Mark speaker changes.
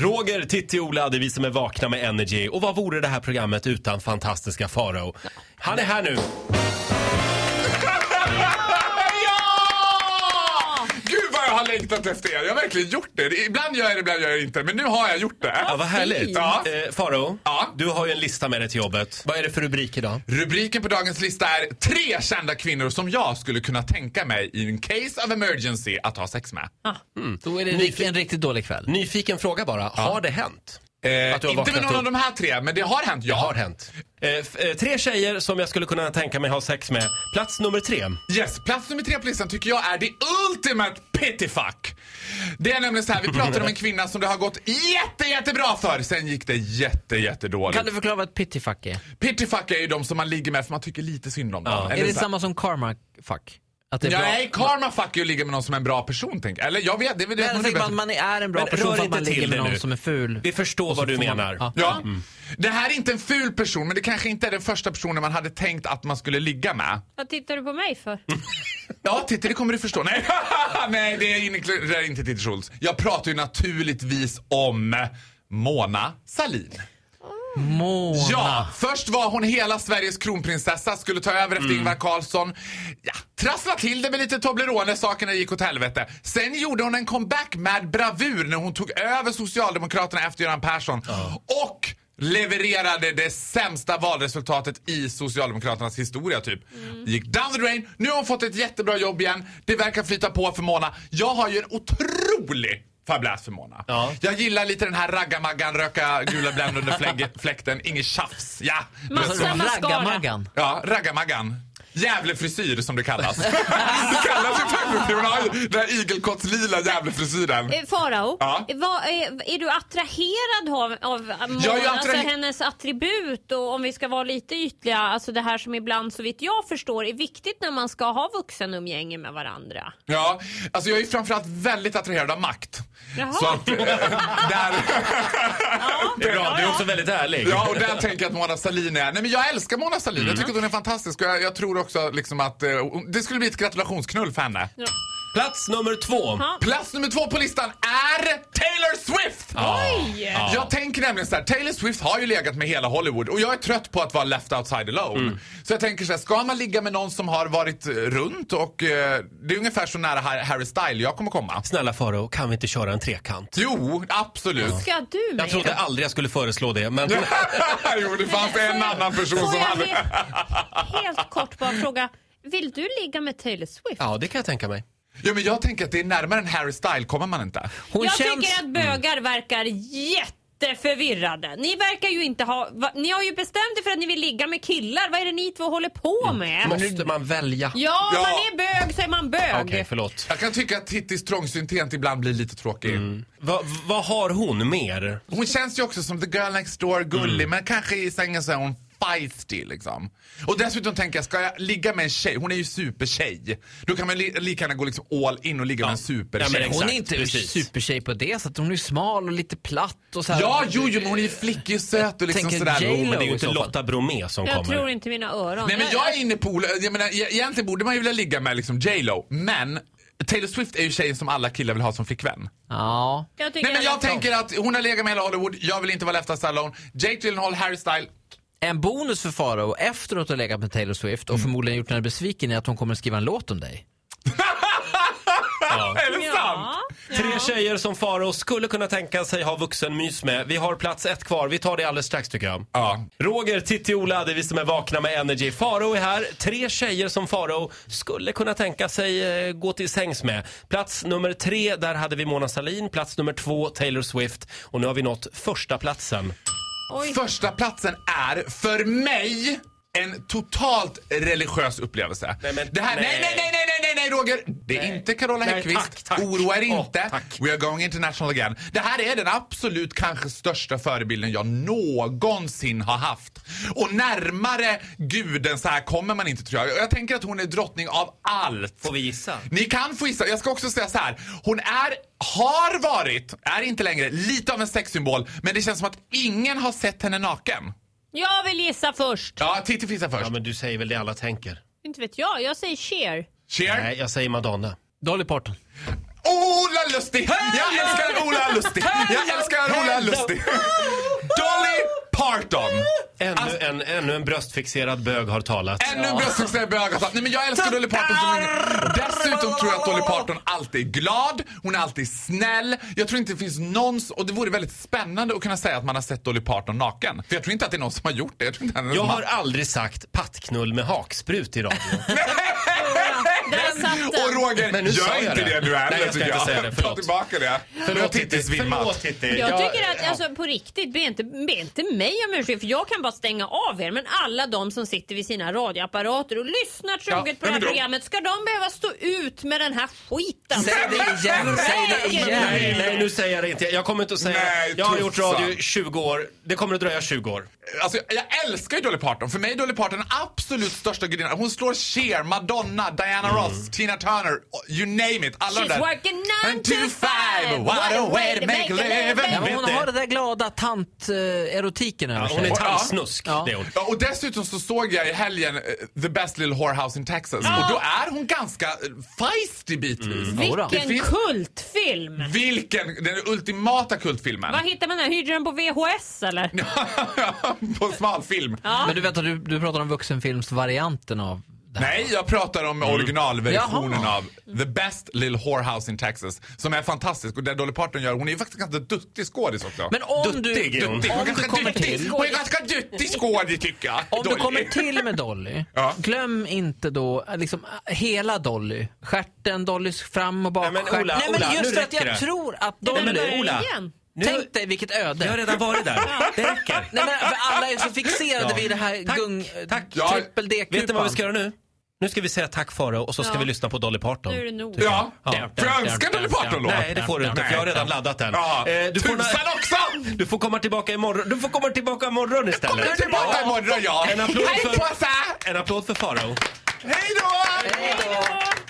Speaker 1: Roger, Titti, Ola, det är vi som är vakna med Energy. Och vad vore det här programmet utan fantastiska Farao? Han är här nu!
Speaker 2: Ja! Gud vad jag har längtat efter er. Jag har verkligen gjort det. Ibland gör jag det, ibland gör jag det inte. Men nu har jag gjort det.
Speaker 1: Ja, vad härligt!
Speaker 2: Ja.
Speaker 1: Eh, Farao,
Speaker 2: Ja.
Speaker 1: du har ju en lista med dig till jobbet. Vad är det för rubrik idag?
Speaker 2: Rubriken på dagens lista är tre kända kvinnor som jag skulle kunna tänka mig i en case of emergency att ha sex med.
Speaker 3: Då är det en, rikt- en riktigt dålig kväll.
Speaker 1: Nyfiken fråga bara, har det hänt?
Speaker 2: Eh,
Speaker 1: Att du har
Speaker 2: inte
Speaker 1: vaknat
Speaker 2: med någon av
Speaker 1: upp.
Speaker 2: de här tre, men det har hänt. Ja.
Speaker 1: Har hänt. Eh, f- eh, tre tjejer som jag skulle kunna tänka mig ha sex med. Plats nummer tre.
Speaker 2: Yes, plats nummer tre på listan tycker jag är the ultimate pittyfuck. Det är nämligen så här, vi pratar om en kvinna som det har gått jätte, jättebra för. Sen gick det jätte, jättedåligt.
Speaker 3: Kan du förklara vad ett pittyfuck är?
Speaker 2: Pittyfuck är ju de som man ligger med för man tycker lite synd om dem. Eller
Speaker 3: Är det
Speaker 2: så här-
Speaker 3: samma som karma-fuck? Att det är
Speaker 2: Nej,
Speaker 3: bra?
Speaker 2: karma fuck you ligger med någon som är en bra person, tänk. Eller jag vet, det vet
Speaker 3: Men jag tänker
Speaker 2: vet-
Speaker 3: bara att man är en bra
Speaker 1: Men rör
Speaker 3: person för att
Speaker 1: inte
Speaker 3: man
Speaker 1: till
Speaker 3: ligger med
Speaker 1: det
Speaker 3: någon
Speaker 1: nu.
Speaker 3: som är ful.
Speaker 1: Vi förstår vad du menar.
Speaker 3: Ja. Mm.
Speaker 2: Ja. Det här är inte en ful person, men det kanske inte är den första personen man hade tänkt att man skulle ligga med.
Speaker 4: Vad tittar du på mig för?
Speaker 2: Ja, titta, det kommer du förstå. Nej, Nej det är inte- det är inte Titti Schultz. Jag pratar ju naturligtvis om Mona Salin.
Speaker 3: Mona.
Speaker 2: Ja, först var hon hela Sveriges kronprinsessa, skulle ta över efter Ingvar Carlsson. Ja, trassla till det med lite Toblerone, sakerna gick åt helvete. Sen gjorde hon en comeback med bravur när hon tog över Socialdemokraterna efter Göran Persson. Och levererade det sämsta valresultatet i Socialdemokraternas historia typ. Gick down the drain, nu har hon fått ett jättebra jobb igen. Det verkar flyta på för Mona. Jag har ju en otrolig fäbless för Mona.
Speaker 1: Ja.
Speaker 2: Jag gillar lite den här raggamaggan, röka gula Blend under flägg- fläkten, inget tjafs. Ja, du vet
Speaker 4: Massa-
Speaker 3: Alltså,
Speaker 2: så.
Speaker 4: Samma skara.
Speaker 3: Raggamaggan.
Speaker 2: ja raggamaggan. Gävlefrisyr som det kallas. det kallas ju faktiskt det. Hon har ju den här igelkottslila Gävlefrisyren.
Speaker 4: Eh, Farao,
Speaker 2: Ja.
Speaker 4: vad, eh, är, är du attraherad av, av Mona?
Speaker 2: Jag är attrahe-
Speaker 4: alltså hennes attribut och om vi ska vara lite ytliga, alltså det här som ibland så vitt jag förstår är viktigt när man ska ha vuxenumgänge med varandra.
Speaker 2: Ja, alltså jag är ju framförallt väldigt attraherad av makt.
Speaker 4: Jaha.
Speaker 2: Så att, eh, där...
Speaker 1: Det är bra, du är också väldigt ärlig.
Speaker 2: Ja, och där tänker jag att Mona Sahlin är... Nej, men jag älskar Mona Sahlin. Jag tycker att hon är fantastisk. Och jag, jag tror också liksom att... Eh, hon- det skulle bli ett gratulationsknull för henne.
Speaker 1: Plats nummer två.
Speaker 4: Ja.
Speaker 2: Plats nummer två på listan är Taylor Swift!
Speaker 4: Oj!
Speaker 2: Jag tänker nämligen så här, Taylor Swift har ju legat med hela Hollywood och jag är trött på att vara left outside alone.
Speaker 4: Mm.
Speaker 2: Så jag tänker så här, ska man ligga med någon som har varit eh, runt och eh, det är ungefär så nära Har- Harry Style jag kommer komma.
Speaker 1: Snälla Farao, kan vi inte köra en trekant?
Speaker 2: Jo, absolut.
Speaker 4: Ska du med?
Speaker 1: Jag trodde aldrig jag skulle föreslå det, men...
Speaker 2: jo, det fanns en annan person
Speaker 4: Får
Speaker 2: som
Speaker 4: jag
Speaker 2: hade...
Speaker 4: helt, helt kort bara fråga, vill du ligga med Taylor Swift?
Speaker 1: Ja, det kan jag tänka mig.
Speaker 2: Ja, men jag tänker att det är närmare än Harry Style kommer man inte.
Speaker 3: Hon
Speaker 4: jag
Speaker 3: känns...
Speaker 4: tycker att bögar verkar jätteförvirrade. Ni verkar ju inte ha... Va, ni har ju bestämt er för att ni vill ligga med killar. Vad är det ni två håller på med?
Speaker 1: Måste man välja? Okej,
Speaker 4: Ja,
Speaker 2: Ja.
Speaker 4: man är bög så är man bög.
Speaker 1: förlåt.
Speaker 2: Jag kan tycka att Tittis trångsynthet ibland blir lite tråkig.
Speaker 4: Mm.
Speaker 1: Va- Vad har hon mer?
Speaker 2: Hon känns ju också som the girl next door,
Speaker 1: Mm.
Speaker 2: gullig, men kanske i sängen så är hon feisty liksom. Och dessutom tänker jag, ska jag ligga med en tjej? Hon är ju supertjej. Då kan man li- lika gärna gå liksom all in och ligga med en
Speaker 1: Ja, men
Speaker 2: supertjej.
Speaker 1: exakt.
Speaker 3: Hon är inte
Speaker 1: precis.
Speaker 3: supertjej på det sättet. Hon är ju smal och lite platt och så
Speaker 2: Ja,
Speaker 3: här.
Speaker 2: jo, jo, men hon är ju flickig och söt och liksom
Speaker 3: tänker
Speaker 2: sådär.
Speaker 3: J-Lo.
Speaker 2: Jo, men
Speaker 1: Det är ju
Speaker 3: i
Speaker 1: inte
Speaker 3: så fall.
Speaker 1: Lotta Bromé som
Speaker 4: Jag
Speaker 1: kommer.
Speaker 4: tror inte mina öron.
Speaker 2: Nej men jag är inne på, Ola- jag menar e- egentligen borde man ju vilja ligga med liksom J.Lo, men Taylor Swift är ju tjejen som alla killar vill ha som flickvän.
Speaker 3: Ja.
Speaker 4: jag tycker
Speaker 2: Nej men jag
Speaker 4: alla-
Speaker 2: tänker att hon har legat med hela Hollywood, jag vill inte vara left us alone. Jake Gyllenhaal, Harry Style.
Speaker 3: En bonus för Farao efter att ha legat med Taylor Swift och förmodligen gjort henne besviken är att hon kommer skriva en låt om dig.
Speaker 2: Är det sant?
Speaker 4: Ja,
Speaker 1: Tre tjejer som Faro skulle kunna tänka sig ha vuxenmys med. Vi har plats ett kvar. Vi tar det alldeles strax tycker jag.
Speaker 2: Ja.
Speaker 1: Roger, Titti, Ola, det är vi som är vakna med Energy. Faro är här. Tre tjejer som Faro skulle kunna tänka sig eh, gå till sängs med. Plats nummer tre, där hade vi Mona Sahlin. Plats nummer två, Taylor Swift. Och nu har vi nått första platsen.
Speaker 4: oj.
Speaker 2: Första platsen är för mig en totalt religiös upplevelse.
Speaker 1: Nej, men-
Speaker 2: det här, nej.
Speaker 1: nej.
Speaker 2: Nej, nej, nej, nej, nej, Roger! Det är inte Carola
Speaker 1: Nej,
Speaker 2: Häggkvist.
Speaker 1: tack, tack.
Speaker 2: Oroa er
Speaker 1: Åh,
Speaker 2: inte.
Speaker 1: tack.
Speaker 2: We are going international again. Det här är den absolut kanske största förebilden jag någonsin har haft. Och närmare guden så här kommer man inte tror jag. Jag tänker att hon är drottning av allt.
Speaker 1: Får vi gissa?
Speaker 2: Ni kan få gissa. Jag ska också säga så här. Hon är, har varit, är inte längre, lite av en sexsymbol. Men det känns som att ingen har sett henne naken.
Speaker 4: Jag vill gissa först.
Speaker 2: Ja, Titti fissar först.
Speaker 1: Ja, men du säger väl det alla tänker.
Speaker 4: Inte vet jag, jag säger cheer.
Speaker 2: Cher?
Speaker 1: Nej, jag säger Madonna.
Speaker 3: Dolly Parton.
Speaker 2: Ola Lustig! Jag älskar Ola Lustig! Jag älskar Ola Lustig! Dolly Parton!
Speaker 1: Ännu, en, ännu en bröstfixerad bög har talat.
Speaker 2: Alltså- Ännu en bröstsuccé på ögat. Nej men jag älskar Dolly Parton så mycket. Dessutom tror jag att Dolly Parton alltid är glad, hon är alltid snäll. Jag tror inte det finns någon, och det vore väldigt spännande att kunna säga att man har sett Dolly Parton naken. För jag tror inte att det är någon som har gjort det. Jag tror inte hennes
Speaker 1: Jag
Speaker 2: man-
Speaker 1: har aldrig sagt pattknull med haksprut i radio.
Speaker 4: Där satt
Speaker 2: Och
Speaker 4: den.
Speaker 2: Roger,
Speaker 1: Men nu sa jag
Speaker 2: gör inte
Speaker 1: det.
Speaker 2: det du
Speaker 1: Nej,
Speaker 2: är
Speaker 1: jag ska inte säga det,
Speaker 2: Ta
Speaker 1: förlåt.
Speaker 2: tillbaka det. Nu har Titti svimmat.
Speaker 1: Titti.
Speaker 4: Jag
Speaker 1: Jag-
Speaker 4: tycker att alltså, på riktigt, be inte, be inte mig om ursäkt för jag kan bara stänga av er. Men alla de som sitter vid sina radioapparater och lyssnar troget på det
Speaker 2: men
Speaker 4: här
Speaker 2: då-
Speaker 4: programmet, ska de behöva stå ut med den här skiten?
Speaker 3: Säg det igen, säg det igen.
Speaker 1: Nej, nej, nu säger jag det inte. Jag kommer inte att säga
Speaker 2: Nej,
Speaker 1: Jag har gjort
Speaker 2: tuffsan.
Speaker 1: radio i 20 år. Det kommer att dröja 20 år.
Speaker 2: Alltså, jag- jag älskar ju Dolly Parton. För mig är Dolly Parton den absolut största gudinnan. Hon slår Cher, Madonna, Diana Ross, Tina Turner, you name it. Alla de
Speaker 4: Mm. She's
Speaker 2: där.
Speaker 4: working nine
Speaker 2: And
Speaker 4: to five. What a way to make a living.
Speaker 3: Ja, men hon
Speaker 1: Vet
Speaker 3: har
Speaker 1: du-
Speaker 3: den där glada tant-erotiken över
Speaker 1: Hon är
Speaker 3: sig.
Speaker 1: tandsnusk,
Speaker 3: Ja.
Speaker 1: det är hon.
Speaker 2: Ja, och dessutom så såg jag i helgen eh, The Best Little Whorehouse in Texas. Och då är hon ganska eh, feisty bitvis.
Speaker 3: Jodå.
Speaker 4: Vilken
Speaker 2: Det finns-
Speaker 4: kultfilm!
Speaker 2: Vilken, den ultimata kultfilmen.
Speaker 4: Vad hittar man den? Hyrde den på VHS eller?
Speaker 2: På smalfilm.
Speaker 3: Men du vet att du, du pratar om vuxenfilmsvarianten av det här.
Speaker 2: Nej, jag pratar om originalversionen
Speaker 3: Jaha.
Speaker 2: av The Best Little Whorehouse in Texas. Som är fantastisk och där Dolly Parton gör, hon är ju faktiskt ganska duktig skådis också.
Speaker 3: Men om
Speaker 1: Duttig
Speaker 3: du,
Speaker 1: är hon.
Speaker 2: Duktig. Hon är
Speaker 3: om du
Speaker 2: ganska
Speaker 3: kommer
Speaker 2: duktig.
Speaker 3: till...
Speaker 2: Hon är ganska duktig skådis tycker jag.
Speaker 3: Om du
Speaker 2: Dolly.
Speaker 3: kommer till med Dolly,
Speaker 2: Ja.
Speaker 3: glöm inte då eh, liksom, eh, hela Dolly. Stjärten, Dollys fram och bak.
Speaker 1: Nej, men
Speaker 3: stjärt-
Speaker 1: Ola,
Speaker 3: Nej, men
Speaker 1: Ola,
Speaker 3: just
Speaker 1: nu
Speaker 3: för att
Speaker 1: räcker
Speaker 3: jag
Speaker 1: det.
Speaker 3: tror att
Speaker 4: men
Speaker 3: Dolly...
Speaker 4: börja Ola, igen.
Speaker 1: nu-
Speaker 3: Tänk dig vilket öde.
Speaker 1: Jag har redan varit där. Det räcker.
Speaker 3: Nej, men, för alla är så fixerade
Speaker 1: Ja.
Speaker 3: vid det här
Speaker 1: Tack,
Speaker 3: gung...
Speaker 1: tack.
Speaker 2: Ja,
Speaker 3: Trippel
Speaker 1: Vet ni vad vi
Speaker 3: D-kupan.
Speaker 1: ska göra nu? Nu ska vi säga tack Farao och så ska
Speaker 4: Ja.
Speaker 1: vi lyssna på Dolly Parton.
Speaker 4: Nu är det nog.
Speaker 2: Ja,
Speaker 1: Ja.
Speaker 2: får jag önska en Dolly Parton-låt?
Speaker 1: Nej, det får du inte för jag har redan laddat den.
Speaker 2: Ja.
Speaker 1: Eh, du, får,
Speaker 2: Tusan också!
Speaker 1: du får komma tillbaka imorgon. Du får komma tillbaka imorgon istället.
Speaker 2: Kommer tillbaka imorgon ja!
Speaker 1: En applåd
Speaker 2: Hej
Speaker 1: för-
Speaker 2: på sig!
Speaker 1: En applåd för Farao.
Speaker 2: Hej då!